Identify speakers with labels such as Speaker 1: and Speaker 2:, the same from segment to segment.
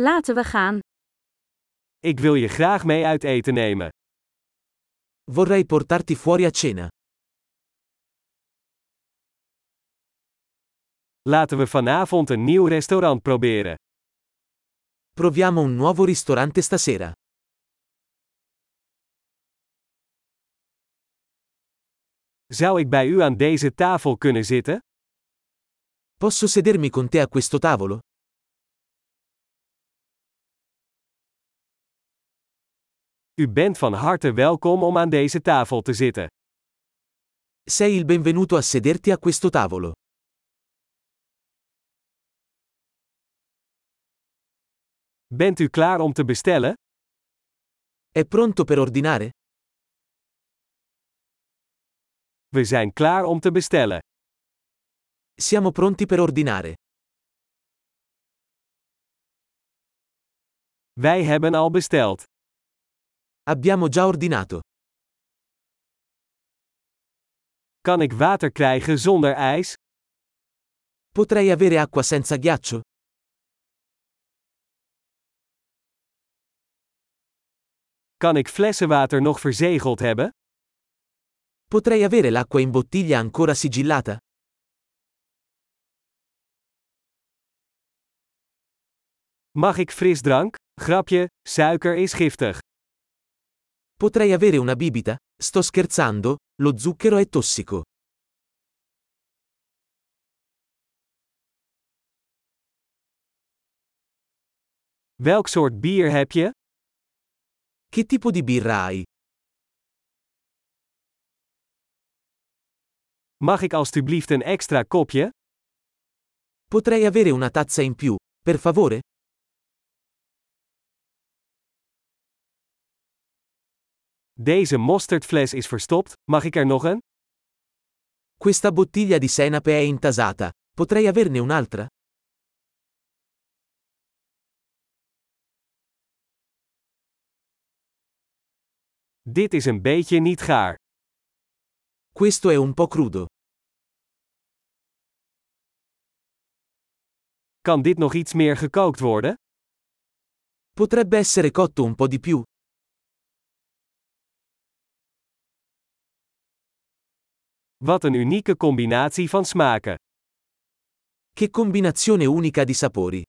Speaker 1: Laten we gaan.
Speaker 2: Ik wil je graag mee uit eten nemen.
Speaker 3: Vorrei portarti fuori a cena.
Speaker 2: Laten we vanavond een nieuw restaurant proberen.
Speaker 3: Proviamo un nuovo ristorante stasera.
Speaker 2: Zou ik bij u aan deze tafel kunnen zitten?
Speaker 3: Posso sedermi con te a questo tavolo?
Speaker 2: U bent van harte welkom om aan deze tafel te zitten.
Speaker 3: Sei il benvenuto a sederti a questo tavolo.
Speaker 2: Bent u klaar om te bestellen?
Speaker 3: È pronto per ordinare?
Speaker 2: We zijn klaar om te bestellen.
Speaker 3: Siamo pronti per ordinare.
Speaker 2: Wij hebben al besteld.
Speaker 3: Abbiamo già ordinato.
Speaker 2: Kan ik water krijgen zonder ijs?
Speaker 3: Potrei avere acqua senza ghiaccio?
Speaker 2: Kan ik flessenwater nog verzegeld hebben?
Speaker 3: Potrei avere l'acqua in bottiglia ancora sigillata?
Speaker 2: Mag ik frisdrank? Grapje, suiker is giftig.
Speaker 3: Potrei avere una bibita? Sto scherzando, lo zucchero è tossico.
Speaker 2: Welk soort bier heb je?
Speaker 3: Che tipo di birra hai?
Speaker 2: Mag ik alstublieft een extra kopje?
Speaker 3: Potrei avere una tazza in più, per favore?
Speaker 2: Deze mosterdfles is verstopt, mag ik er nog een?
Speaker 3: Questa bottiglia di senape è intasata, potrei averne un'altra?
Speaker 2: Dit is een beetje niet gaar.
Speaker 3: Questo è un po' crudo.
Speaker 2: Kan dit nog iets meer gekookt worden?
Speaker 3: Potrebbe essere cotto un po' di più.
Speaker 2: Wat een unieke combinatie van smaken.
Speaker 3: Che combinazione unica di sapori.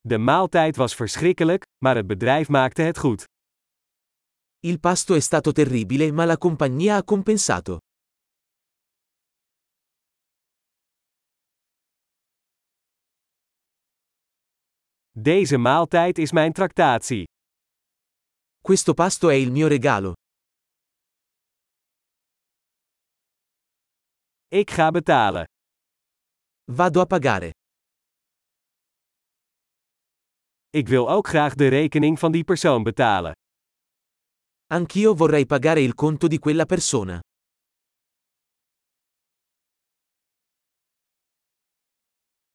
Speaker 2: De maaltijd was verschrikkelijk, maar het bedrijf maakte het goed.
Speaker 3: Il pasto è stato terribile ma la compagnia ha compensato.
Speaker 2: Deze maaltijd is mijn tractatie.
Speaker 3: Questo pasto è il mio regalo.
Speaker 2: Ik ga betalen.
Speaker 3: Vado a pagare.
Speaker 2: Ik wil ook graag de rekening van die persoon betalen.
Speaker 3: Anch'io vorrei pagare il conto di quella persona.